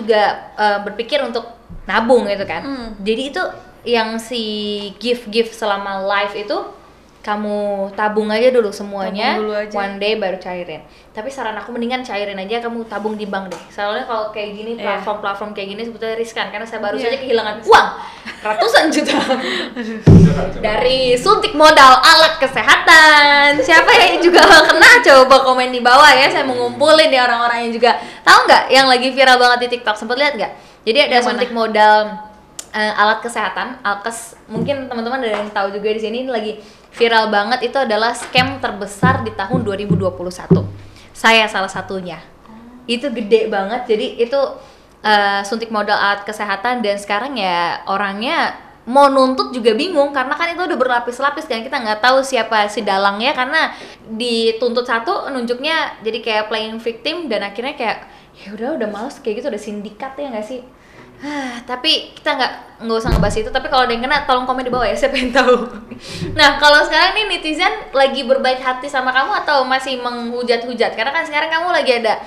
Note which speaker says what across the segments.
Speaker 1: juga eh, berpikir untuk nabung gitu kan.
Speaker 2: Hmm.
Speaker 1: Jadi itu yang si gift-gift selama live itu kamu tabung aja dulu semuanya,
Speaker 2: Tabung dulu aja.
Speaker 1: one day baru cairin. Tapi saran aku mendingan cairin aja kamu tabung di bank deh. Soalnya kalau kayak gini
Speaker 2: Iya.
Speaker 1: platform-platform kayak gini sebetulnya riskan karena saya baru
Speaker 2: Iya.
Speaker 1: saja kehilangan uang ratusan juta
Speaker 3: Coba, coba.
Speaker 1: dari suntik modal alat kesehatan. Siapa yang juga kena coba komen di bawah ya. Saya mengumpulin ya orang-orang yang juga tahu nggak yang lagi viral banget di TikTok sempat lihat nggak? Jadi ada
Speaker 2: Yang mana?
Speaker 1: suntik modal eh, alat kesehatan, alkes. Mungkin teman-teman ada yang tahu juga di sini ini lagi viral banget itu adalah scam terbesar di tahun 2021. Saya salah satunya
Speaker 2: Oh.
Speaker 1: itu gede banget jadi itu eh, suntik modal alat kesehatan dan sekarang ya orangnya mau nuntut juga bingung karena kan itu udah berlapis-lapis kan kita nggak tahu siapa si dalangnya karena dituntut satu nunjuknya jadi kayak playing victim dan akhirnya kayak ya udah udah males kayak gitu udah sindikat ya nggak sih Hah, Ah, tapi kita nggak nggak usah ngebahas itu tapi kalau ada yang kena tolong komen di bawah ya saya pengen tahu nah kalau sekarang nih netizen lagi berbaik hati sama kamu atau masih menghujat-hujat karena kan sekarang kamu lagi ada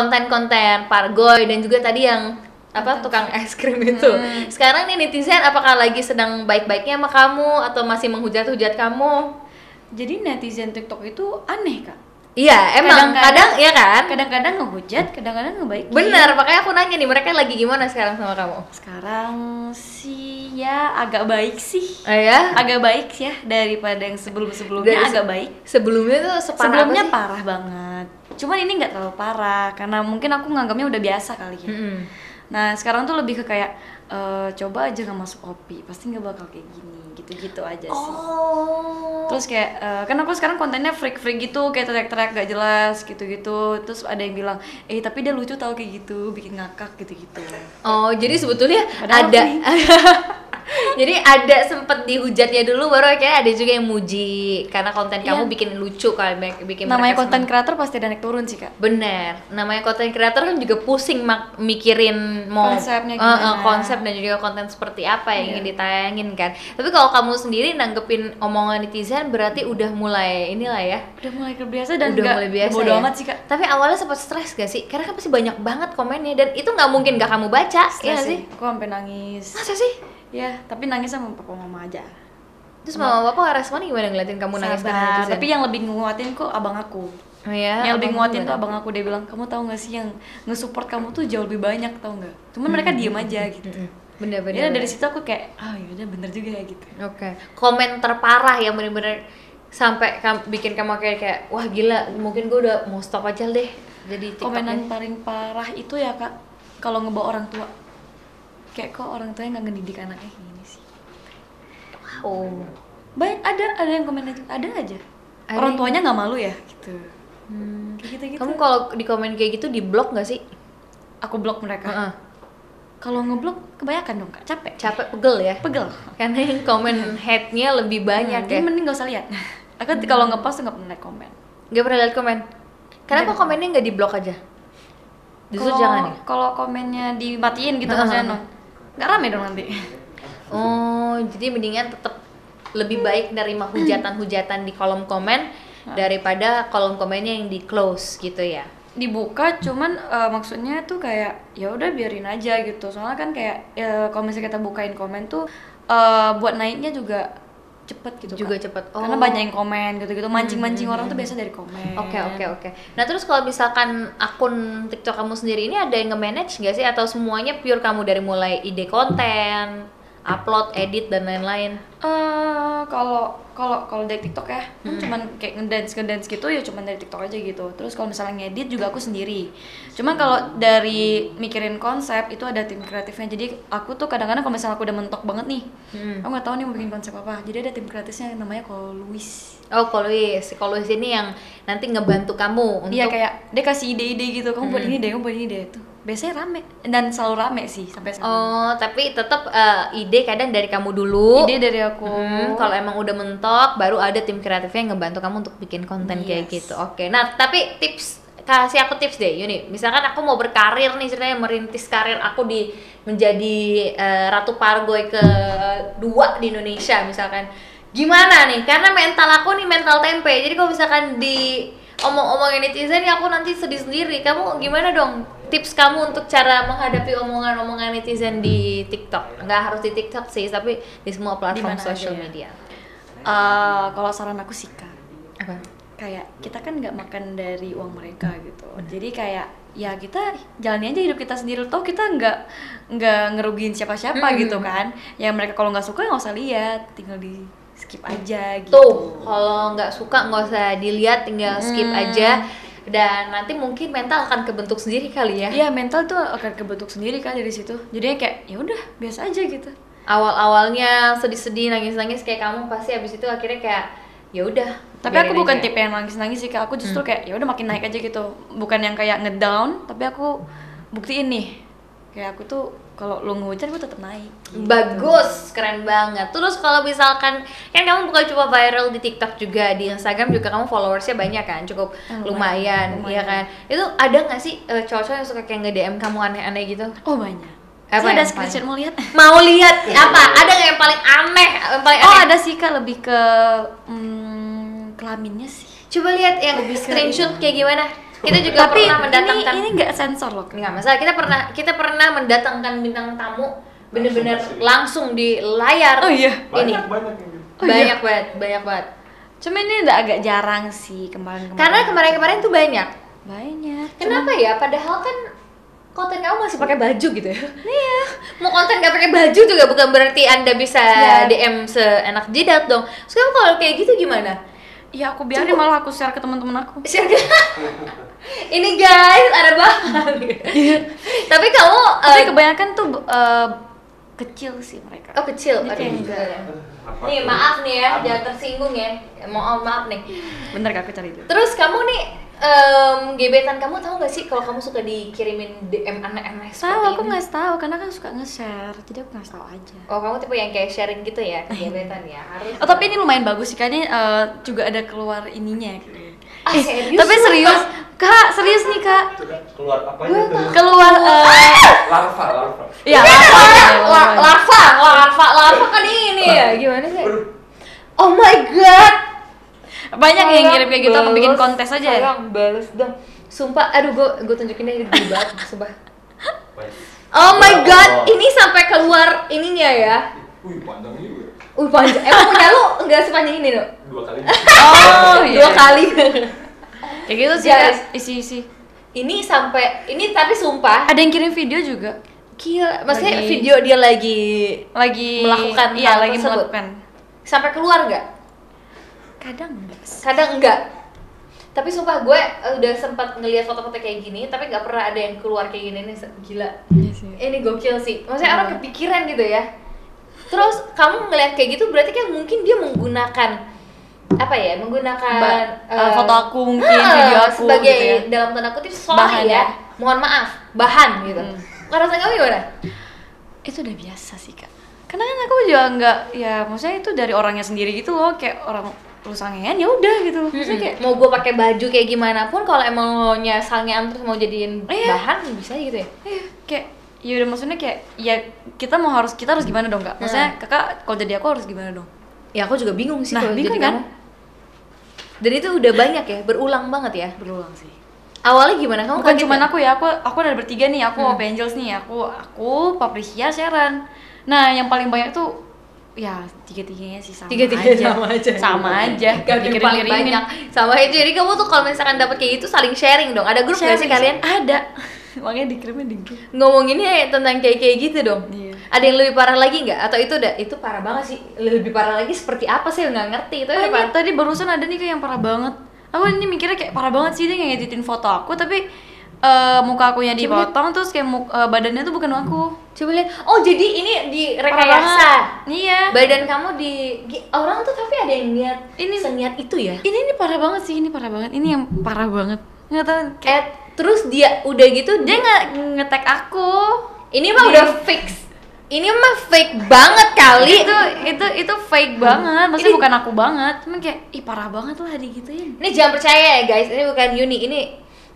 Speaker 1: konten-konten pargoy dan juga tadi yang apa tukang es krim itu
Speaker 2: Hmm.
Speaker 1: sekarang nih netizen apakah lagi sedang baik-baiknya sama kamu atau masih menghujat-hujat kamu
Speaker 2: Jadi netizen TikTok itu aneh kak.
Speaker 1: iya emang kadang,
Speaker 2: Kadang-kadang-
Speaker 1: ya kan
Speaker 2: Kadang-kadang ngehujat, kadang-kadang ngebaikin.
Speaker 1: bener makanya aku nanya nih mereka lagi gimana sekarang sama kamu
Speaker 2: Sekarang sih ya agak baik sih.
Speaker 1: Eh, ya
Speaker 2: Agak baik Ah, ya daripada yang sebelum-sebelumnya
Speaker 1: Dari se-
Speaker 2: agak baik.
Speaker 1: sebelumnya tuh separah apa
Speaker 2: sebelumnya
Speaker 1: sih?
Speaker 2: parah banget. Cuman ini nggak terlalu parah karena mungkin aku nganggapnya udah biasa kali ya.
Speaker 1: Mm-mm.
Speaker 2: Nah sekarang tuh lebih ke kayak eh, coba aja nggak masuk kopi, pasti nggak bakal kayak gini, gitu-gitu aja sih.
Speaker 1: Oh.
Speaker 2: Terus kayak, eh, kan aku sekarang kontennya freak-freak gitu, kayak teriak-teriak gak jelas gitu-gitu Terus ada yang bilang, eh tapi dia lucu tau kayak gitu, bikin ngakak gitu-gitu
Speaker 1: Oh, jadi sebetulnya
Speaker 2: Padahal
Speaker 1: ada Jadi ada sempet dihujatnya dulu baru akhirnya ada juga yang muji karena konten
Speaker 2: Iya.
Speaker 1: kamu bikin lucu kali bikin bikin
Speaker 2: Namanya
Speaker 1: mereka
Speaker 2: konten
Speaker 1: seneng.
Speaker 2: creator pasti ada naik turun sih kak
Speaker 1: Bener, namanya konten kreator kan juga pusing mak- mikirin mau
Speaker 2: Konsepnya
Speaker 1: Eh, eh,
Speaker 2: gimana.
Speaker 1: konsep dan juga konten seperti apa yang
Speaker 2: Iya.
Speaker 1: ingin ditayangin kan. Tapi kalau kamu sendiri nanggepin omongan netizen berarti udah mulai inilah ya
Speaker 2: Udah mulai kebiasa dan
Speaker 1: udah
Speaker 2: nggak
Speaker 1: mulai biasa
Speaker 2: bodo
Speaker 1: ya?
Speaker 2: amat sih kak
Speaker 1: Tapi awalnya sempat stres gak sih? Karena kan pasti banyak banget komennya dan itu nggak mungkin gak kamu baca, iya
Speaker 2: Stres
Speaker 1: gak sih?
Speaker 2: Aku sampai nangis
Speaker 1: Masa sih?
Speaker 2: Ya, tapi nangis sama papa mama aja
Speaker 1: Terus mama bapak responnya gimana ngeliatin kamu nangis karena
Speaker 2: Sabar,
Speaker 1: netizen?
Speaker 2: Tapi yang lebih nguatin kok abang aku
Speaker 1: Oh iya,
Speaker 2: yang lebih
Speaker 1: abang
Speaker 2: nguatin
Speaker 1: gimana?
Speaker 2: tuh abang aku dia bilang kamu tahu nggak sih yang nge-support kamu tuh jauh lebih banyak tau nggak cuman mereka
Speaker 1: Hmm,
Speaker 2: diem aja gitu
Speaker 1: Mm-mm. Bener-bener.
Speaker 2: ya dari situ aku kayak ah yaudah bener juga ya gitu
Speaker 1: Oke. Komen terparah yang bener-bener sampai kam- bikin kamu kayak kayak wah gila mungkin gue udah mau stop aja deh jadi TikToknya.
Speaker 2: komenan paling parah itu ya kak kalau ngebawa orang tua kayak kok orang tuanya nggak ngedidik anaknya kayak gini sih
Speaker 1: Oh.
Speaker 2: banyak ada ada yang komen aja- ada aja
Speaker 1: Ada
Speaker 2: orang
Speaker 1: yang-
Speaker 2: tuanya nggak malu ya gitu
Speaker 1: Hmm.
Speaker 2: kayak gitu gitu
Speaker 1: Kamu kalau di komen kayak gitu di blok gak sih?
Speaker 2: aku blok mereka
Speaker 1: Heeh.
Speaker 2: kalau ngeblok kebanyakan dong kak capek
Speaker 1: Capek pegel ya.
Speaker 2: pegel
Speaker 1: Karena yang komen hate-nya lebih banyak
Speaker 2: Hmm,
Speaker 1: ya.
Speaker 2: jadi mending gak usah lihat aku kalau ngepost tuh nggak pernah liat komen
Speaker 1: Gak pernah lihat komen. Kenapa
Speaker 2: Nggak.
Speaker 1: komennya nggak di blok aja? Justru
Speaker 2: Kalau-
Speaker 1: jangan ya.
Speaker 2: kalau komennya dimatiin gitu
Speaker 1: Heeh,
Speaker 2: maksudnya
Speaker 1: heeh.
Speaker 2: dong nggak rame dong nanti
Speaker 1: Oh, jadi mendingan tetap lebih baik nerima hujatan-hujatan di kolom komen daripada kolom komennya yang di close gitu ya.
Speaker 2: dibuka cuman eh, maksudnya tuh kayak ya udah biarin aja gitu soalnya kan kayak eh, kalau misalnya kita bukain komen tuh eh, buat naiknya juga cepet gitu
Speaker 1: Juga
Speaker 2: Kak.
Speaker 1: cepet.
Speaker 2: karena
Speaker 1: Oh. Hmm,
Speaker 2: banyak yang komen gitu gitu mancing mancing orang tuh biasa dari komen
Speaker 1: Oke, oke, oke. Nah, terus kalau misalkan akun TikTok kamu sendiri ini ada yang nge-manage nggak sih atau semuanya pure kamu dari mulai ide konten, upload, edit dan lain-lain?
Speaker 2: Eh, kalau kalau kalau dari TikTok ya, kan
Speaker 1: Hmm.
Speaker 2: cuman kayak ngedance ngedance gitu ya cuman dari TikTok aja gitu. Terus kalau misalnya ngedit juga aku sendiri. Cuman kalau dari mikirin konsep itu ada tim kreatifnya. Jadi aku tuh kadang-kadang kalau misalnya aku udah mentok banget nih,
Speaker 1: Hmm.
Speaker 2: aku nggak tahu nih mau bikin konsep apa. Jadi ada tim kreatifnya yang namanya Koluis.
Speaker 1: Oh, kalau Luis, kalau Luis ini yang nanti ngebantu kamu untuk Hmm.
Speaker 2: Dia Iya, kayak dia kasih ide-ide gitu, kamu buat ini deh, kamu buat ini deh tuh. Biasanya rame dan selalu rame sih sampai sekarang.
Speaker 1: Oh, tapi tetap eh, ide kadang dari kamu dulu.
Speaker 2: Ide dari aku.
Speaker 1: Hmm, kalau emang udah mentok, baru ada tim kreatifnya yang ngebantu kamu untuk bikin konten kayak
Speaker 2: Yes.
Speaker 1: gitu. Oke. Nah, tapi tips kasih aku tips deh, Yuni. Misalkan aku mau berkarir nih, ceritanya merintis karir aku di menjadi eh, ratu pargoy ke dua di Indonesia, misalkan. Gimana nih? Karena mental aku nih mental tempe. Jadi kalau misalkan di omong-omongin netizen ya aku nanti sedih sendiri. Kamu gimana dong tips kamu untuk cara menghadapi omongan-omongan netizen di TikTok? Nggak harus di TikTok sih, tapi di semua platform
Speaker 2: Dimana aja
Speaker 1: social
Speaker 2: ya?
Speaker 1: media.
Speaker 2: Eh, kalau saran aku sih kak
Speaker 1: Apa?
Speaker 2: kayak kita kan nggak makan dari uang mereka gitu jadi kayak ya kita jalani aja hidup kita sendiri toh kita nggak nggak ngerugiin siapa-siapa
Speaker 1: Hmm.
Speaker 2: gitu kan yang mereka kalau nggak suka ya nggak usah lihat tinggal di skip aja gitu
Speaker 1: Tuh, kalau nggak suka nggak usah dilihat, tinggal skip
Speaker 2: Hmm.
Speaker 1: aja. Dan nanti mungkin mental akan kebentuk sendiri kali ya.
Speaker 2: Iya mental tuh akan kebentuk sendiri kan dari situ. Jadinya kayak ya udah biasa aja gitu.
Speaker 1: Awal-awalnya sedih-sedih, nangis-nangis kayak kamu pasti abis itu akhirnya kayak ya udah.
Speaker 2: Tapi
Speaker 1: biarin
Speaker 2: aku bukan
Speaker 1: aja." Hmm.
Speaker 2: tipe yang nangis-nangis sih kak. Aku justru kayak ya udah makin naik aja gitu. Bukan yang kayak ngedown. Tapi aku buktiin nih. Kayak aku tuh kalau lu ngehujan gue tetap naik.
Speaker 1: Bagus, keren banget. Terus kalau misalkan kan kamu bukan cuma viral di TikTok juga, di Instagram juga kamu followersnya banyak kan, cukup
Speaker 2: Eh,
Speaker 1: lumayan,
Speaker 2: lumayan,
Speaker 1: iya kan. Itu ada nggak sih eh, cowok-cowok yang suka kayak nge DM kamu aneh-aneh gitu?
Speaker 2: Oh banyak.
Speaker 1: Apa
Speaker 2: Saya ada
Speaker 1: yang
Speaker 2: screenshot mau lihat.
Speaker 1: Mau lihat apa? Ada nggak yang paling aneh? Yang paling
Speaker 2: Oh
Speaker 1: aneh?
Speaker 2: ada sih kak lebih ke hmm, kelaminnya sih.
Speaker 1: Coba lihat yang screenshot kayak gimana. Kita juga
Speaker 2: Tapi
Speaker 1: pernah mendatangkan.
Speaker 2: ini ini nggak sensor loh. Kak.
Speaker 1: nggak masalah. Kita pernah kita pernah mendatangkan bintang tamu bener-bener
Speaker 3: Langsung ke sini.
Speaker 1: langsung di layar.
Speaker 2: Oh iya.
Speaker 1: Ini
Speaker 3: banyak banyak yang gitu
Speaker 2: Oh, iya.
Speaker 1: banyak banget, banyak banget.
Speaker 2: Cuma ini udah agak jarang sih kemarin-kemarin.
Speaker 1: Karena kemarin-kemarin tuh banyak.
Speaker 2: banyak.
Speaker 1: Kenapa ya? Padahal kan konten kamu masih pakai baju gitu ya. Iya. Mau konten gak pakai baju juga bukan berarti Anda bisa
Speaker 2: Iya.
Speaker 1: DM seenak jidat dong. Sekarang kalau kayak gitu gimana?
Speaker 2: Ya aku biarin malah aku share ke teman-teman aku.
Speaker 1: Share ke- Ini guys, ada bahan. Tapi kamu
Speaker 2: Tapi
Speaker 1: eh,
Speaker 2: kebanyakan tuh eh, kecil sih mereka.
Speaker 1: oh kecil. Aduh.
Speaker 2: Ini kayak enggak ya.
Speaker 3: Apa
Speaker 1: Nih,
Speaker 3: tuh?
Speaker 1: maaf nih ya, jangan tersinggung ya. Mohon maaf nih.
Speaker 2: Bentar kak aku cari dulu.
Speaker 1: Terus kamu nih em, gebetan kamu tahu gak sih kalau kamu suka dikirimin DM aneh-aneh
Speaker 2: Tahu
Speaker 1: seperti
Speaker 2: aku
Speaker 1: ini?
Speaker 2: nggak tahu karena kan suka nge-share, jadi aku nggak tahu aja.
Speaker 1: Oh kamu tipe yang kayak sharing gitu ya ke gebetan ya harus.
Speaker 2: Oh tapi ini lumayan bagus sih, kayaknya eh, juga ada keluar ininya.
Speaker 1: Ah,
Speaker 2: Eh,
Speaker 1: serius?
Speaker 2: tapi serius, kak serius nih kak
Speaker 3: Coba, keluar apa
Speaker 1: Gua
Speaker 3: itu
Speaker 2: keluar. eh,
Speaker 3: larva larva
Speaker 2: ya
Speaker 1: larva,
Speaker 2: larva,
Speaker 1: larva, Eh, larva, larva, larva kan ini ya gimana sih?
Speaker 3: Waduh,
Speaker 1: Oh my god.
Speaker 2: Banyak yang
Speaker 1: Sayang,
Speaker 2: ngirim kayak gitu, aku bikin
Speaker 1: bales,
Speaker 2: kontes aja. ya.
Speaker 1: Sayang bales dong. Sumpah, aduh gue gue tunjukin deh gede banget, sumpah.
Speaker 3: wes.
Speaker 1: Oh my
Speaker 3: Oh.
Speaker 1: god, ini sampai keluar ininya ya.
Speaker 3: Wih, panjang juga.
Speaker 1: Uh panjang. Emang punya lu enggak sepanjang ini, Dok?
Speaker 3: Dua kali.
Speaker 2: Oh
Speaker 1: Dua kali.
Speaker 2: Kayak gitu sih
Speaker 1: Guys.
Speaker 2: Kak, isi-isi.
Speaker 1: ini sampai ini tapi sumpah.
Speaker 2: Ada yang kirim video juga.
Speaker 1: Gila, maksudnya
Speaker 2: Lagi-
Speaker 1: video dia lagi
Speaker 2: lagi
Speaker 1: Melakukan
Speaker 2: iya
Speaker 1: hal
Speaker 2: lagi
Speaker 1: tersebut.
Speaker 2: melakukan
Speaker 1: sampai keluar nggak?
Speaker 2: kadang enggak sih.
Speaker 1: kadang enggak tapi sumpah gue eh, udah sempat ngelihat foto-foto kayak gini tapi nggak pernah ada yang keluar kayak gini nih se- gila
Speaker 2: Iya
Speaker 1: ini gokil sih maksudnya orang kepikiran gitu ya terus kamu ngelihat kayak gitu berarti kan mungkin dia menggunakan apa ya menggunakan
Speaker 2: Ba- eh,
Speaker 1: eh,
Speaker 2: foto aku mungkin
Speaker 1: eh,
Speaker 2: video aku
Speaker 1: sebagai
Speaker 2: gitu ya.
Speaker 1: dalam tanda kutip sorry
Speaker 2: Bahan
Speaker 1: ya
Speaker 2: ya.
Speaker 1: mohon maaf bahan gitu
Speaker 2: Hmm.
Speaker 1: Kalau rasa kamu gimana
Speaker 2: itu udah biasa sih kak karena kan aku juga enggak ya maksudnya itu dari orangnya sendiri gitu loh kayak orang lu sangean ya udah gitu loh maksudnya kayak
Speaker 1: mau gue pakai baju kayak gimana pun kalau emang lo nya sangean terus mau jadiin
Speaker 2: Iya.
Speaker 1: bahan bisa aja gitu ya
Speaker 2: eh, kayak ya udah maksudnya kayak ya kita mau harus kita harus gimana dong kak maksudnya kakak kalau jadi aku harus gimana dong
Speaker 1: ya aku juga bingung sih
Speaker 2: Nah,
Speaker 1: kalau
Speaker 2: bingung
Speaker 1: jadi
Speaker 2: kan?
Speaker 1: kamu. dan itu udah banyak ya berulang banget ya
Speaker 2: berulang sih
Speaker 1: awalnya gimana kamu
Speaker 2: bukan
Speaker 1: kaget
Speaker 2: cuma
Speaker 1: nggak?
Speaker 2: aku ya aku aku ada bertiga nih aku
Speaker 1: Hmm.
Speaker 2: Pop Angels nih aku aku Paprisia Sharon nah yang paling banyak tuh ya tiga tiganya sih sama
Speaker 1: Tiga-tiganya
Speaker 2: aja. gitu.
Speaker 1: sama aja.
Speaker 2: sama aja
Speaker 1: Gak ada yang
Speaker 2: kan.
Speaker 1: paling
Speaker 2: Dikirim-kirimin.
Speaker 1: banyak sama itu jadi kamu tuh kalau misalkan dapet kayak gitu saling sharing dong ada grup nggak sih kalian
Speaker 2: Sharing. ada makanya dikirimnya di grup
Speaker 1: ngomonginnya tentang kayak kayak gitu dong
Speaker 2: Iya.
Speaker 1: ada yang lebih parah lagi nggak atau itu udah itu parah banget sih lebih parah lagi seperti apa sih nggak ngerti itu
Speaker 2: Makanya
Speaker 1: apa
Speaker 2: tadi barusan ada nih kayak yang parah banget aku ini mikirnya kayak parah banget sih dia kayak ngeditin foto aku tapi eh, muka akunya dipotong terus kayak muk- eh, badannya tuh bukan aku
Speaker 1: coba lihat oh jadi ini di
Speaker 2: Parah
Speaker 1: rekayasa
Speaker 2: banget. iya
Speaker 1: badan kamu di gi- orang tuh tapi ada yang niat ini
Speaker 2: Ini-
Speaker 1: seniat itu ya
Speaker 2: ini ini parah banget sih ini parah banget ini yang parah banget nggak tahu kayak
Speaker 1: Eh, terus dia udah gitu dia
Speaker 2: dia nggak ngetek aku
Speaker 1: ini
Speaker 2: Iya.
Speaker 1: mah udah fix ini mah fake banget kali
Speaker 2: itu itu itu fake banget maksudnya
Speaker 1: Ini-
Speaker 2: bukan aku banget cuman kayak ih parah banget lah digituin
Speaker 1: ini jangan percaya ya guys ini bukan Yuni ini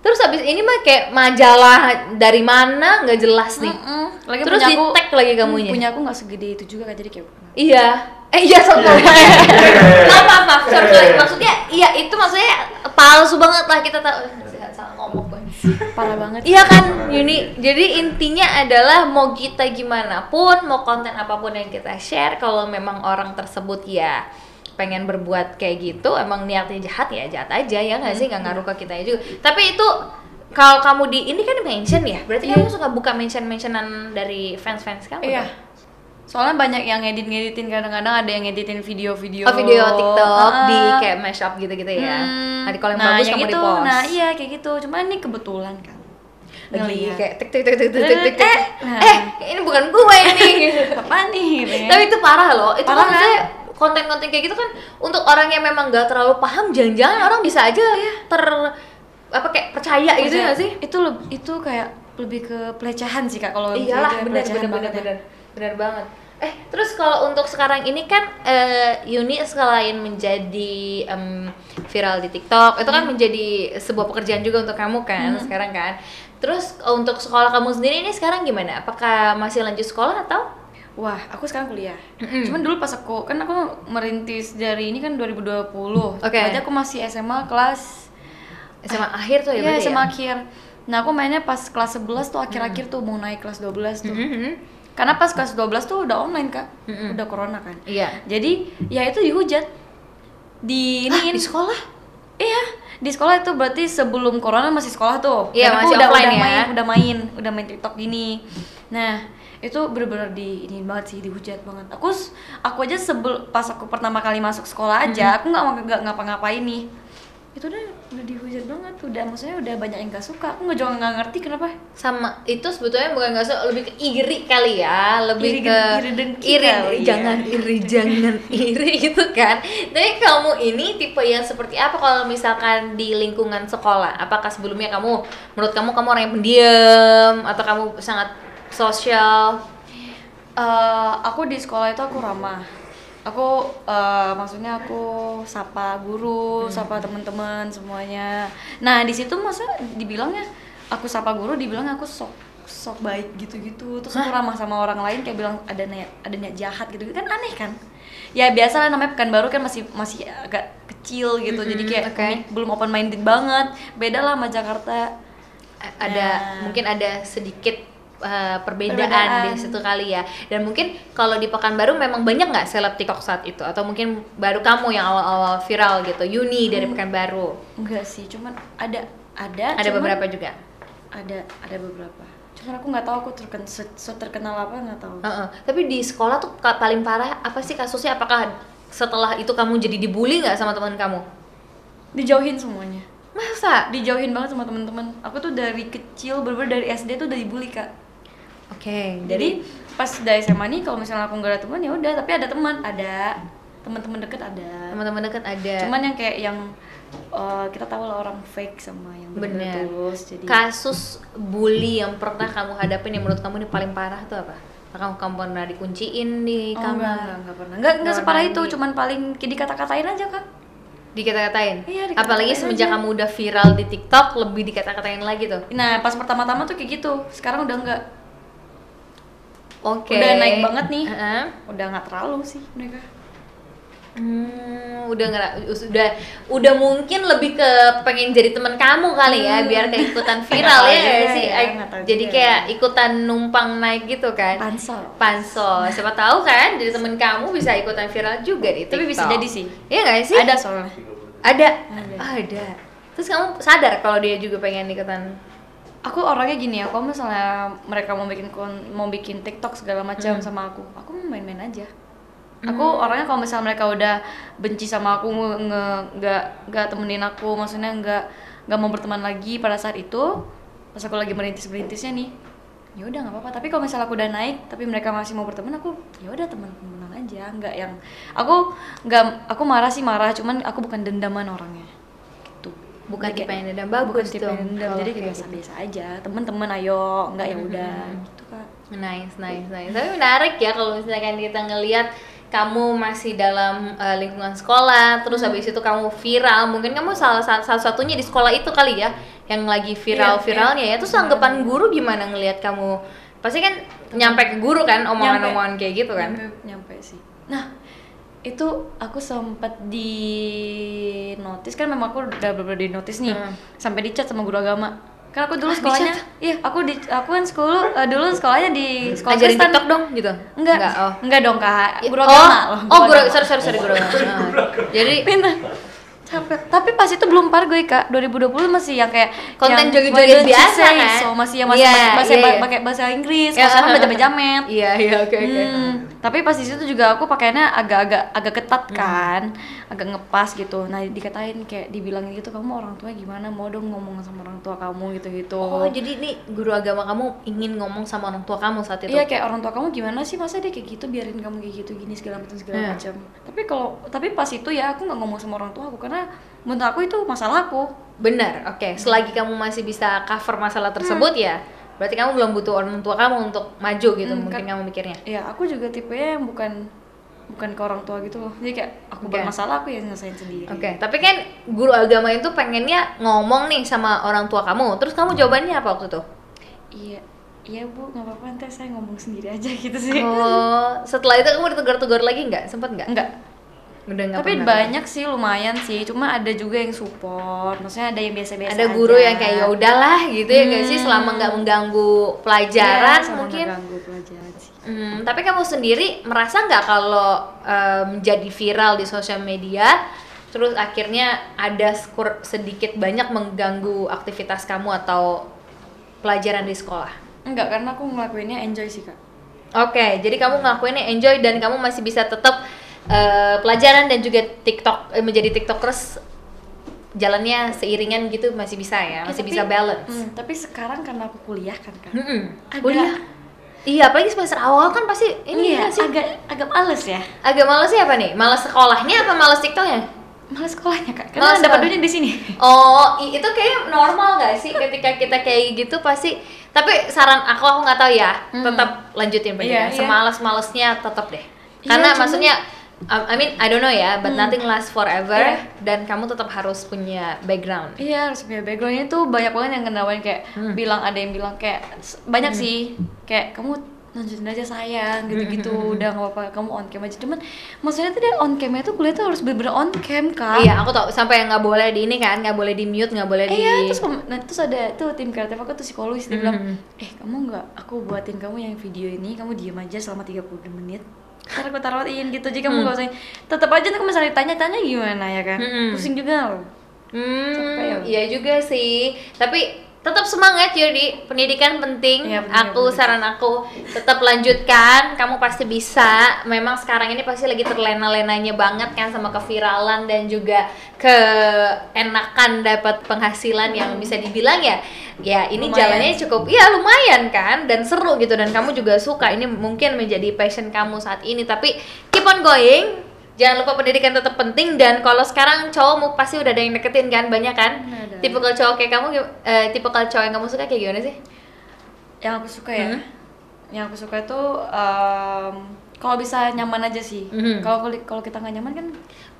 Speaker 1: terus habis ini mah kayak majalah dari mana nggak jelas nih
Speaker 2: Mm-mm. lagi
Speaker 1: terus di tag lagi kamunya
Speaker 2: punya aku nggak segede itu juga kan jadi kayak
Speaker 1: iya eh iya sorry maaf maaf, iya, maaf sorry, sorry. maksudnya iya itu maksudnya palsu banget lah kita tahu salah ngomong Boy.
Speaker 2: parah banget
Speaker 1: Iya kan, Yuni. Jadi intinya adalah mau kita gimana pun, mau konten apapun yang kita share, kalau memang orang tersebut ya pengen berbuat kayak gitu, emang niatnya jahat ya jahat aja ya nggak sih nggak ngaruh ke kita juga. Tapi itu kalau kamu di ini kan mention ya, berarti
Speaker 2: Iya.
Speaker 1: kamu suka buka mention-mentionan dari fans-fans kamu.
Speaker 2: iya
Speaker 1: dong?
Speaker 2: soalnya banyak yang ngedit ngeditin kadang-kadang ada yang ngeditin
Speaker 1: Oh
Speaker 2: video-video
Speaker 1: video TikTok
Speaker 2: Ah.
Speaker 1: di kayak mashup gitu-gitu ya. Nah,
Speaker 2: Hmm.
Speaker 1: di kalau yang
Speaker 2: Nah,
Speaker 1: bagus
Speaker 2: yang
Speaker 1: kamu di
Speaker 2: gitu.
Speaker 1: post.
Speaker 2: Nah, iya kayak gitu. Cuma ini kebetulan kan.
Speaker 1: Lagi
Speaker 2: Ngeliat.
Speaker 1: kayak tik tik tik tik tik tik tik.
Speaker 2: Eh,
Speaker 1: Eh, eh, ini bukan gue ini.
Speaker 2: apa nih? gitu ya.
Speaker 1: Tapi itu parah loh. Itu
Speaker 2: Parah
Speaker 1: kan maksudnya konten-konten kayak gitu kan untuk orang yang memang gak terlalu paham jangan-jangan orang bisa aja
Speaker 2: Iya.
Speaker 1: ter apa kayak percaya, gitu
Speaker 2: Maksudnya,
Speaker 1: gak sih?
Speaker 2: Itu leb- itu kayak lebih ke pelecehan sih Kak kalau
Speaker 1: Iyalah,
Speaker 2: itu ya,
Speaker 1: benar
Speaker 2: pelecehan
Speaker 1: benar benar
Speaker 2: banget ya.
Speaker 1: benar. Benar banget. Eh, terus kalau untuk sekarang ini kan eh, Yuni selain menjadi em, viral di TikTok, itu kan
Speaker 2: Hmm.
Speaker 1: menjadi sebuah pekerjaan juga untuk kamu kan sekarang kan. Terus untuk sekolah kamu sendiri ini sekarang gimana? Apakah masih lanjut sekolah atau?
Speaker 2: Wah, aku sekarang kuliah.
Speaker 1: Mm-mm.
Speaker 2: Cuman dulu pas aku kan aku merintis dari ini kan 2020.
Speaker 1: Oke.
Speaker 2: Berarti aku masih SMA kelas
Speaker 1: SMA akhir tuh ya
Speaker 2: Iya,
Speaker 1: berarti
Speaker 2: SMA
Speaker 1: ya?
Speaker 2: akhir. Nah, aku mainnya pas kelas 11 tuh akhir-akhir
Speaker 1: Hmm.
Speaker 2: tuh mau naik kelas 12 tuh.
Speaker 1: Mhm.
Speaker 2: Karena pas kelas 12 tuh udah online, Kak.
Speaker 1: Mm-mm.
Speaker 2: Udah corona kan.
Speaker 1: Iya.
Speaker 2: Jadi, ya itu dihujat. Di ini
Speaker 1: Ah, Di sekolah?
Speaker 2: Iya, di sekolah itu berarti sebelum corona masih sekolah tuh.
Speaker 1: Iya,
Speaker 2: Dan aku
Speaker 1: masih
Speaker 2: udah,
Speaker 1: offline
Speaker 2: udah
Speaker 1: ya.
Speaker 2: main, udah main, udah main TikTok gini. Nah, itu bener-bener di ini banget sih dihujat banget. Aku s- aku aja sebel pas aku pertama kali masuk sekolah
Speaker 1: Mm-hmm.
Speaker 2: aja, aku nggak mau- nggak ngapa-ngapain nih. Itu udah udah dihujat banget, udah maksudnya udah banyak yang gak suka. Aku nggak juga nggak ngerti kenapa.
Speaker 1: sama itu sebetulnya bukan nggak suka lebih ke iri kali ya lebih
Speaker 2: Iri-
Speaker 1: ke
Speaker 2: iri dengki
Speaker 1: iri
Speaker 2: kali ya.
Speaker 1: jangan iri jangan iri gitu kan tapi kamu ini tipe yang seperti apa kalau misalkan di lingkungan sekolah apakah sebelumnya kamu menurut kamu kamu orang yang pendiam atau kamu sangat sosial
Speaker 2: Eh, aku di sekolah itu aku ramah. Aku eh, maksudnya aku sapa guru,
Speaker 1: Hmm.
Speaker 2: sapa teman-teman semuanya. Nah, di situ masa dibilangnya aku sapa guru dibilang aku sok sok baik gitu-gitu. Terus aku ramah sama orang lain kayak bilang ada niat ada niat jahat gitu. Kan aneh kan? Ya biasa lah namanya Pekanbaru kan masih masih agak kecil gitu. Jadi kayak
Speaker 1: Hmm, oke.
Speaker 2: belum open minded banget. Beda lah sama Jakarta.
Speaker 1: A- ada
Speaker 2: Nah.
Speaker 1: mungkin ada sedikit uh, perbedaan, di
Speaker 2: Perbedaan.
Speaker 1: situ kali ya dan mungkin kalau di Pekanbaru memang banyak nggak seleb TikTok saat itu atau mungkin baru kamu yang awal-awal viral gitu Yuni
Speaker 2: Hmm.
Speaker 1: dari Pekanbaru
Speaker 2: Enggak sih, cuman ada ada
Speaker 1: ada
Speaker 2: Ya, cuman-
Speaker 1: beberapa juga
Speaker 2: ada ada beberapa cuman aku nggak tahu aku terken se- se- terkenal apa nggak tahu
Speaker 1: Heeh. tapi di sekolah tuh ka- paling parah apa sih kasusnya apakah setelah itu kamu jadi dibully nggak sama teman kamu
Speaker 2: dijauhin semuanya
Speaker 1: masa
Speaker 2: dijauhin banget sama teman-teman aku tuh dari kecil berber dari SD tuh udah dibully kak
Speaker 1: oke
Speaker 2: jadi pas dari SMA nih kalau misalnya aku nggak ada teman ya udah tapi ada teman ada teman-teman deket ada
Speaker 1: teman-teman dekat ada
Speaker 2: cuman yang kayak yang eh, kita tahu lah orang fake sama yang benar
Speaker 1: bener
Speaker 2: tulus jadi
Speaker 1: kasus bully yang pernah kamu hadapin yang menurut kamu ini paling parah tuh apa kamu kamu pernah dikunciin di
Speaker 2: Oh,
Speaker 1: kamar
Speaker 2: enggak, enggak, enggak pernah. Enggak, enggak
Speaker 1: Nggak
Speaker 2: separah
Speaker 1: pernah
Speaker 2: itu,
Speaker 1: di-
Speaker 2: cuman paling dikata-katain aja, Kak.
Speaker 1: dikata-katain
Speaker 2: Iya, dikata-katain
Speaker 1: apalagi semenjak
Speaker 2: aja.
Speaker 1: kamu udah viral di TikTok lebih dikata-katain lagi tuh
Speaker 2: Nah, pas pertama-tama tuh kayak gitu. Sekarang udah enggak.
Speaker 1: oke
Speaker 2: Udah naik banget nih.
Speaker 1: Heeh.
Speaker 2: Udah nggak terlalu sih mereka.
Speaker 1: Hmm, udah ngera- udah udah mungkin lebih ke pengen jadi teman kamu kali ya biar kayak ikutan viral
Speaker 2: tahu
Speaker 1: ya nggak
Speaker 2: juga
Speaker 1: sih
Speaker 2: ya,
Speaker 1: Ay-
Speaker 2: Hmm. nggak tahu
Speaker 1: jadi
Speaker 2: juga
Speaker 1: kayak ikutan numpang naik gitu kan
Speaker 2: Pansel.
Speaker 1: pansos siapa tahu kan jadi temen kamu bisa ikutan viral juga di
Speaker 2: Tapi bisa
Speaker 1: TikTok.
Speaker 2: jadi sih.
Speaker 1: iya nggak sih
Speaker 2: Ada soalnya. Ah,
Speaker 1: ada
Speaker 2: Ada.
Speaker 1: ada terus kamu sadar kalau dia juga pengen ikutan
Speaker 2: Aku orangnya gini ya, kalau misalnya mereka mau bikin kon- mau bikin TikTok segala macam
Speaker 1: Hmm.
Speaker 2: sama aku, aku mau main-main aja. Aku orangnya kalau misalnya mereka udah benci sama aku, nge- nge- nggak nggak temenin aku, maksudnya nggak nggak mau berteman lagi pada saat itu, pas aku lagi merintis merintisnya nih, ya udah nggak apa-apa. Tapi kalau misalnya aku udah naik, tapi mereka masih mau berteman, aku ya udah teman-teman aja, nggak yang aku nggak aku marah sih marah, cuman aku bukan dendaman orangnya. Gitu
Speaker 1: bukan
Speaker 2: Jadi
Speaker 1: tipe
Speaker 2: kayak-
Speaker 1: yang dendam bagus
Speaker 2: bukan tipe
Speaker 1: dong,
Speaker 2: yang dendam,
Speaker 1: kalau
Speaker 2: jadi kayak
Speaker 1: kayak
Speaker 2: biasa
Speaker 1: gitu.
Speaker 2: biasa aja temen-temen ayo nggak ya udah
Speaker 1: Mm-hmm.
Speaker 2: gitu kak
Speaker 1: Nice, nice, nice. Tapi menarik ya kalau misalkan kita ngelihat kamu masih dalam eh, lingkungan sekolah, terus habis itu kamu viral, mungkin kamu salah sa- salah satunya di sekolah itu kali ya, yang lagi
Speaker 2: Iya,
Speaker 1: viral-viralnya ya. Terus anggapan guru gimana ngelihat kamu? Pasti kan nyampe ke guru kan omongan-omongan kayak gitu kan?
Speaker 2: nyampe, nyampe sih nah itu aku sempet di notis kan memang aku udah bener di notis nih
Speaker 1: Hmm.
Speaker 2: sampai dicat sama guru agama Karena aku
Speaker 1: Ah,
Speaker 2: dulu
Speaker 1: di
Speaker 2: sekolahnya,
Speaker 1: chat.
Speaker 2: iya aku di aku kan sekolah eh, dulu sekolahnya di sekolah
Speaker 1: Ajarin
Speaker 2: Kristen.
Speaker 1: TikTok dong gitu?
Speaker 2: Enggak,
Speaker 1: Enggak, oh.
Speaker 2: enggak dong kak.
Speaker 1: Ya,
Speaker 2: Guru
Speaker 1: oh,
Speaker 2: agama loh.
Speaker 1: Oh, guru,
Speaker 2: agama.
Speaker 1: sorry, sorry, sorry, guru agama. Ah. Jadi
Speaker 2: Pinter. Capek. Tapi pas itu belum pargoy kak. 2020 masih yang kayak
Speaker 1: Konten
Speaker 2: yang
Speaker 1: joget-joget
Speaker 2: why don't you
Speaker 1: biasa,
Speaker 2: say
Speaker 1: kan?
Speaker 2: So masih yang masih
Speaker 1: Iya,
Speaker 2: pakai bahasa
Speaker 1: iya, iya.
Speaker 2: pakai bahasa Inggris.
Speaker 1: Ya,
Speaker 2: Kalau sekarang
Speaker 1: ah,
Speaker 2: udah
Speaker 1: ah,
Speaker 2: jamet-jamet.
Speaker 1: Iya, iya, oke, oke.
Speaker 2: Hmm, tapi pas di situ juga aku pakainya agak-agak agak ketat
Speaker 1: Hmm.
Speaker 2: kan, agak ngepas gitu. Nah dikatain kayak dibilangin gitu kamu orang tua gimana mau dong ngomong sama orang tua kamu gitu-gitu.
Speaker 1: Oh, jadi ini guru agama kamu ingin ngomong sama orang tua kamu saat itu?
Speaker 2: Iya kayak orang tua kamu gimana sih masa dia kayak gitu biarin kamu kayak gitu gini segala macam segala
Speaker 1: Iya.
Speaker 2: macam. Tapi kalau tapi pas itu ya aku nggak ngomong sama orang tua aku karena menurut aku itu masalah aku.
Speaker 1: Benar, oke. Selagi kamu masih bisa cover masalah tersebut ya, berarti kamu belum butuh orang tua kamu untuk maju gitu,
Speaker 2: Hmm,
Speaker 1: mungkin
Speaker 2: kan-
Speaker 1: kamu mikirnya.
Speaker 2: Ya aku juga tipenya yang bukan bukan ke orang tua gitu loh. Jadi kayak
Speaker 1: Oke.
Speaker 2: aku bermasalah aku yang nyelesain sendiri.
Speaker 1: Oke, tapi kan guru agama itu pengennya ngomong nih sama orang tua kamu, terus kamu jawabannya apa waktu itu?
Speaker 2: Iya iya bu nggak apa-apa nanti saya ngomong sendiri aja gitu sih.
Speaker 1: Oh, setelah itu kamu ditegur-tegur lagi nggak? Sempet nggak?
Speaker 2: Enggak.
Speaker 1: Udah nggak
Speaker 2: Tapi
Speaker 1: pernah.
Speaker 2: banyak sih lumayan sih. Cuma ada juga yang support. Maksudnya ada yang biasa-biasa.
Speaker 1: Ada guru
Speaker 2: aja.
Speaker 1: yang kayak ya udahlah gitu ya nggak sih,
Speaker 2: Hmm.
Speaker 1: selama nggak mengganggu
Speaker 2: Iya,
Speaker 1: pelajaran
Speaker 2: sama
Speaker 1: mungkin.
Speaker 2: nggak ganggu pelajaran sih.
Speaker 1: Hmm, tapi kamu sendiri merasa nggak kalau eh, menjadi viral di sosial media, terus akhirnya ada skur- sedikit banyak mengganggu aktivitas kamu atau pelajaran di sekolah?
Speaker 2: Enggak, karena aku ngelakuinnya enjoy sih kak.
Speaker 1: Oke, jadi kamu ngelakuinnya enjoy dan kamu masih bisa tetap eh, pelajaran dan juga TikTok eh, menjadi TikTokers jalannya seiringan gitu masih bisa ya, masih
Speaker 2: Eh,
Speaker 1: bisa
Speaker 2: tapi-
Speaker 1: balance.
Speaker 2: Hmm, tapi sekarang karena aku kuliah kan kak.
Speaker 1: Mm-mm.
Speaker 2: Agak-
Speaker 1: Kuliah. Iya, apalagi semester awal kan pasti ini ya
Speaker 2: Iya,
Speaker 1: sih.
Speaker 2: agak agak males ya.
Speaker 1: Agak males ya apa nih? Males sekolahnya apa males TikToknya?
Speaker 2: Males sekolahnya kak.
Speaker 1: Males
Speaker 2: Karena dapat
Speaker 1: sekolah.
Speaker 2: duitnya di sini.
Speaker 1: Oh, i- itu kayak normal gak sih ketika kita kayak gitu pasti tapi saran aku aku nggak tahu ya,
Speaker 2: Hmm.
Speaker 1: tetap lanjutin pendidikan.
Speaker 2: Iya, iya.
Speaker 1: Semalas-malasnya tetap deh.
Speaker 2: Iya,
Speaker 1: Karena
Speaker 2: cuman-
Speaker 1: maksudnya um, I- I mean I don't know ya, but
Speaker 2: Hmm.
Speaker 1: nothing lasts forever
Speaker 2: Iya.
Speaker 1: dan kamu tetap harus punya background.
Speaker 2: Iya, harus punya backgroundnya tuh banyak banget yang kenawain kayak
Speaker 1: Hmm.
Speaker 2: bilang ada yang bilang kayak s- banyak sih kayak kamu lanjutin aja sayang
Speaker 1: Hmm.
Speaker 2: gitu-gitu udah nggak apa-apa kamu on cam aja cuman maksudnya tuh dia on camnya tuh kuliah tuh harus bener-bener on cam kak
Speaker 1: Iya, aku tahu sampai nggak boleh di ini kan, nggak boleh di mute, nggak boleh
Speaker 2: Eh,
Speaker 1: di
Speaker 2: iya, terus, pem- nah, terus ada tuh tim kreatif aku tuh psikologis dia bilang,
Speaker 1: Mm.
Speaker 2: "Eh, kamu nggak aku buatin kamu yang video ini, kamu diem aja selama 30 menit." Ntar aku taruhin gitu, jadi kamu
Speaker 1: Hmm.
Speaker 2: nggak usah Tetep aja tuh misalnya tanya-tanya gimana ya kan
Speaker 1: Mm-mm.
Speaker 2: Pusing juga loh Capek ya.
Speaker 1: Hmm, iya juga sih. Tapi tetap semangat Yudi. Pendidikan penting.
Speaker 2: Iya, pendidikan
Speaker 1: aku
Speaker 2: penting.
Speaker 1: saran aku tetap lanjutkan. Kamu pasti bisa. Memang sekarang ini pasti lagi terlena-lenanya banget kan sama keviralan dan juga keenakan dapat penghasilan yang bisa dibilang ya. Ya, ini
Speaker 2: Lumayan.
Speaker 1: jalannya cukup ya lumayan kan dan seru gitu dan kamu juga suka. Ini mungkin menjadi passion kamu saat ini tapi keep on going. Jangan lupa pendidikan tetap penting dan kalau sekarang cowok mu pasti udah ada yang deketin kan banyak kan.
Speaker 2: Ada.
Speaker 1: Tipikal cowok kayak kamu eh tipikal cowok yang kamu suka kayak gimana sih?
Speaker 2: Yang aku suka ya
Speaker 1: Hmm.
Speaker 2: Yang aku suka itu em, kalau bisa nyaman aja sih
Speaker 1: Mhm.
Speaker 2: Kalau kalau kita nggak nyaman kan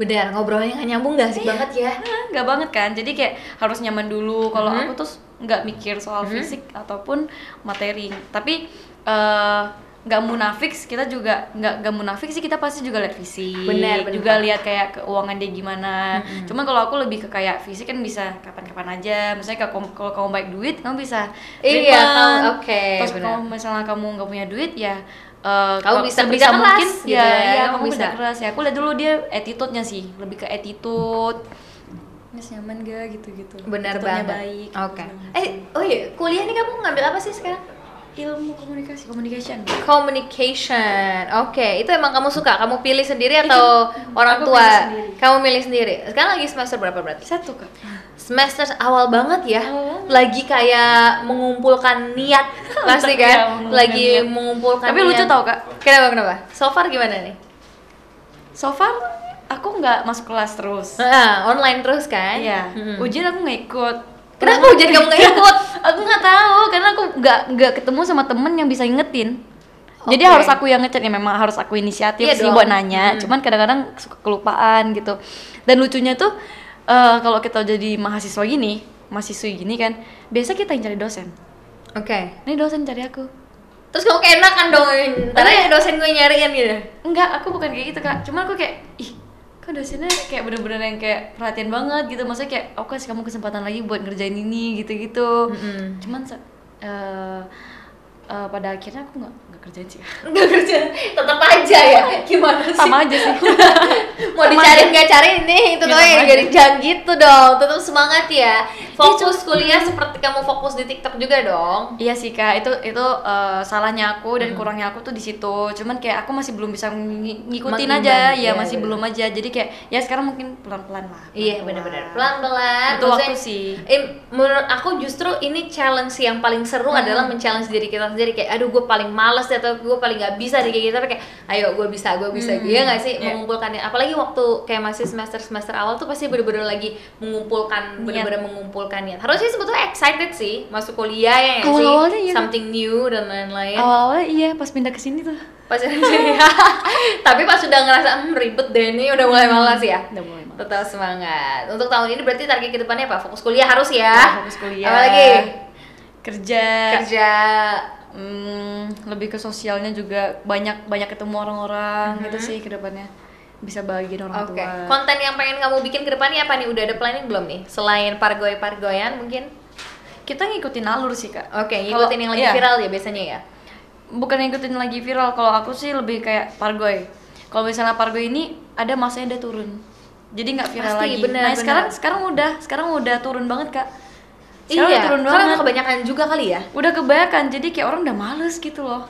Speaker 1: Benar, ngobrolnya nggak nyambung nggak sih banget ya?
Speaker 2: Ah, nggak banget kan jadi kayak harus nyaman dulu kalau
Speaker 1: Mhm.
Speaker 2: aku tuh nggak mikir soal
Speaker 1: Mhm.
Speaker 2: fisik ataupun materi tapi eh, nggak munafik kita juga nggak nggak munafik sih kita pasti juga lihat fisik
Speaker 1: Bener, bener.
Speaker 2: juga lihat kayak keuangan dia gimana
Speaker 1: Mhm.
Speaker 2: cuman kalau aku lebih ke kayak fisik kan bisa kapan-kapan aja misalnya kalau kamu- kalau kamu baik duit kamu bisa
Speaker 1: Iya,
Speaker 2: treatment.
Speaker 1: kamu- oke,
Speaker 2: terus
Speaker 1: bener.
Speaker 2: kalau misalnya kamu nggak punya duit ya eh,
Speaker 1: Kamu
Speaker 2: kalau
Speaker 1: bisa
Speaker 2: sebisa
Speaker 1: kerja keras,
Speaker 2: mungkin
Speaker 1: gitu
Speaker 2: ya,
Speaker 1: ya,
Speaker 2: ya,
Speaker 1: kamu
Speaker 2: kamu bisa
Speaker 1: bisa.
Speaker 2: keras ya aku lihat dulu dia attitude-nya sih lebih ke attitude Mas nyaman gak gitu-gitu
Speaker 1: Benar
Speaker 2: Attitude-nya
Speaker 1: banget.
Speaker 2: baik
Speaker 1: Oke.
Speaker 2: gitu.
Speaker 1: Eh, oh iya, kuliah nih kamu ngambil apa sih sekarang?
Speaker 2: ilmu komunikasi communication
Speaker 1: Communication. Oke, itu emang kamu suka? Kamu pilih sendiri atau orang
Speaker 2: aku
Speaker 1: tua?
Speaker 2: pilih sendiri.
Speaker 1: Kamu milih sendiri. Sekarang lagi semester berapa berarti?
Speaker 2: satu kak
Speaker 1: semester awal banget ya
Speaker 2: Awal banget.
Speaker 1: lagi kayak mengumpulkan niat pasti
Speaker 2: Iya,
Speaker 1: kan
Speaker 2: mengumpulkan
Speaker 1: lagi
Speaker 2: niat.
Speaker 1: mengumpulkan
Speaker 2: Tapi lucu
Speaker 1: niat.
Speaker 2: tau, Kak.
Speaker 1: kenapa kenapa so far gimana nih
Speaker 2: so far aku nggak masuk kelas terus
Speaker 1: Ah, online terus kan
Speaker 2: iya
Speaker 1: Mm-mm.
Speaker 2: ujian aku nggak ikut
Speaker 1: Kenapa ujian kamu nggak ikut?
Speaker 2: aku nggak tahu karena aku nggak nggak ketemu sama temen yang bisa ngetin Jadi
Speaker 1: Oke.
Speaker 2: harus aku yang ngechat ya memang harus aku inisiatif
Speaker 1: Iya
Speaker 2: sih
Speaker 1: dong.
Speaker 2: buat nanya.
Speaker 1: Hmm.
Speaker 2: Cuman kadang-kadang suka kelupaan gitu. Dan lucunya tuh eh, kalau kita jadi mahasiswa gini, mahasiswi gini kan, biasa kita yang cari dosen.
Speaker 1: oke
Speaker 2: Ini dosen cari aku.
Speaker 1: terus kamu keenakan dong ntar aja
Speaker 2: Tapi-
Speaker 1: dosen gue nyariin gitu
Speaker 2: Enggak, aku bukan kayak gitu, Kak. Cuman aku kayak ih, kok aku dosennya kayak bener-bener yang kayak perhatian banget gitu maksudnya kayak aku kasih kamu kesempatan lagi buat ngerjain ini gitu-gitu
Speaker 1: Mm-mm.
Speaker 2: cuman se- eh, eh, pada akhirnya aku nggak nggak kerjain sih
Speaker 1: nggak kerja tetap aja ya gimana sih
Speaker 2: Iya. sama aja sih
Speaker 1: mau
Speaker 2: Sama
Speaker 1: dicari
Speaker 2: aja.
Speaker 1: nggak cari nih itu
Speaker 2: Ya,
Speaker 1: doang
Speaker 2: sama
Speaker 1: yang
Speaker 2: aja. Iya,
Speaker 1: jadi jangan gitu dong tetap semangat ya fokus kuliah seperti kamu fokus di TikTok juga dong
Speaker 2: Iya sih kak, itu itu eh, salahnya aku dan kurangnya aku tuh di situ. Cuman kayak aku masih belum bisa ngi- ngikutin
Speaker 1: Mengimbang,
Speaker 2: aja,
Speaker 1: iya,
Speaker 2: ya masih
Speaker 1: bener.
Speaker 2: belum aja. Jadi kayak ya sekarang mungkin pelan-pelan lah.
Speaker 1: Iya benar-benar pelan-pelan.
Speaker 2: Butuh waktu
Speaker 1: Maksudnya,
Speaker 2: sih.
Speaker 1: em, menurut aku justru ini challenge yang paling seru
Speaker 2: Hmm.
Speaker 1: adalah men-challenge diri kita sendiri kayak aduh gue paling males deh, atau gue paling nggak bisa deh kayak gitu tapi kayak ayo gue bisa gue bisa
Speaker 2: Hmm,
Speaker 1: Iya nggak sih
Speaker 2: iya.
Speaker 1: mengumpulkan apalagi waktu kayak masih semester semester awal tuh pasti bener-bener lagi mengumpulkan
Speaker 2: Niat.
Speaker 1: bener-bener mengumpulkan niat. Harusnya sebetulnya excited sih masuk kuliah ya nggak sih
Speaker 2: Awal-awalnya iya.
Speaker 1: something new dan lain-lain.
Speaker 2: Awal-awal iya, pas pindah ke sini tuh.
Speaker 1: Pas tapi pas sudah ngerasa "Hmm, ribet deh ini udah mulai malas ya
Speaker 2: Hmm. Udah mulai malas.
Speaker 1: tetap semangat untuk tahun ini berarti target kedepannya apa fokus kuliah harus ya
Speaker 2: Ya, fokus kuliah.
Speaker 1: apa lagi
Speaker 2: Kerja.
Speaker 1: kerja
Speaker 2: Hmm, lebih ke sosialnya juga banyak banyak ketemu orang-orang gitu sih ke depannya. Bisa bagiin orang
Speaker 1: oke
Speaker 2: tua.
Speaker 1: konten yang pengen kamu bikin kedepannya apa nih udah ada planning belum nih selain pargoy pargoyan mungkin
Speaker 2: Kita ngikutin alur sih kak.
Speaker 1: oke
Speaker 2: Kalau-
Speaker 1: ngikutin yang lagi
Speaker 2: iya.
Speaker 1: viral ya biasanya ya
Speaker 2: bukan ngikutin lagi viral kalau aku sih lebih kayak pargoy kalau misalnya pargoy ini ada masanya udah turun jadi nggak viral
Speaker 1: Pasti,
Speaker 2: lagi
Speaker 1: benar,
Speaker 2: nah
Speaker 1: benar.
Speaker 2: sekarang sekarang udah sekarang udah turun banget kak Iya, sekarang udah
Speaker 1: karena
Speaker 2: turun banget
Speaker 1: udah Iya. kebanyakan juga kali ya
Speaker 2: udah kebanyakan jadi kayak orang udah males gitu loh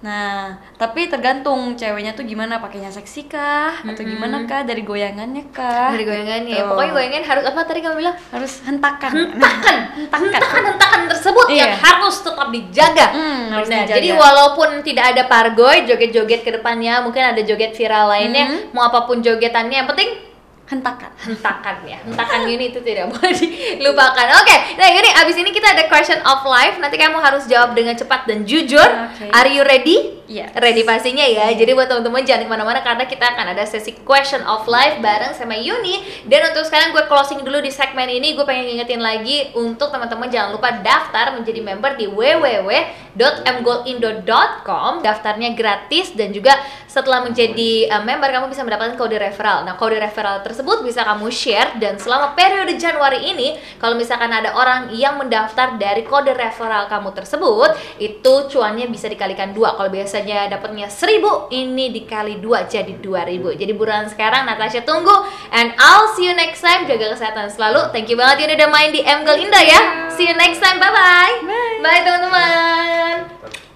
Speaker 2: nah tapi tergantung ceweknya tuh gimana pakainya seksi kah atau gimana kah dari goyangannya kah
Speaker 1: dari goyangannya ya
Speaker 2: Tuh.
Speaker 1: pokoknya goyangan harus apa tadi kamu bilang
Speaker 2: harus hentakan
Speaker 1: hentakan hentakan hentakan tersebut yang
Speaker 2: Iya.
Speaker 1: harus tetap dijaga.
Speaker 2: Hmm, harus
Speaker 1: Benar.
Speaker 2: dijaga.
Speaker 1: Jadi walaupun tidak ada pargoy, joget-joget ke depannya, mungkin ada joget viral lainnya,
Speaker 2: Hmm.
Speaker 1: mau apapun jogetannya, yang penting
Speaker 2: hentakan
Speaker 1: hentakan ya. Hentakan ini itu tidak boleh dilupakan. Oke, nah ini abis ini kita ada question of life. Nanti kamu harus jawab dengan cepat dan jujur.
Speaker 2: Oke.
Speaker 1: Are you ready?
Speaker 2: Yes.
Speaker 1: Ready pastinya ya. Jadi buat teman-teman jangan kemana-mana karena kita akan ada sesi question of life bareng sama Yuni. Dan untuk sekarang gue closing dulu di segmen ini. Gue pengen ngingetin lagi untuk teman-teman jangan lupa daftar menjadi member di www.mgoldindo.com. Daftarnya gratis dan juga setelah menjadi uh, member kamu bisa mendapatkan kode referral. Nah kode referral tersebut bisa kamu share dan selama periode Januari ini kalau misalkan ada orang yang mendaftar dari kode referral kamu tersebut itu cuannya bisa dikalikan dua kalau biasanya dapatnya 1000 ini dikali dua jadi 2000 jadi buruan sekarang Natasha tunggu and I'll see you next time jaga kesehatan selalu thank you banget yang udah main di MGL Indo ya see you next time bye bye bye teman-teman
Speaker 3: Ntar.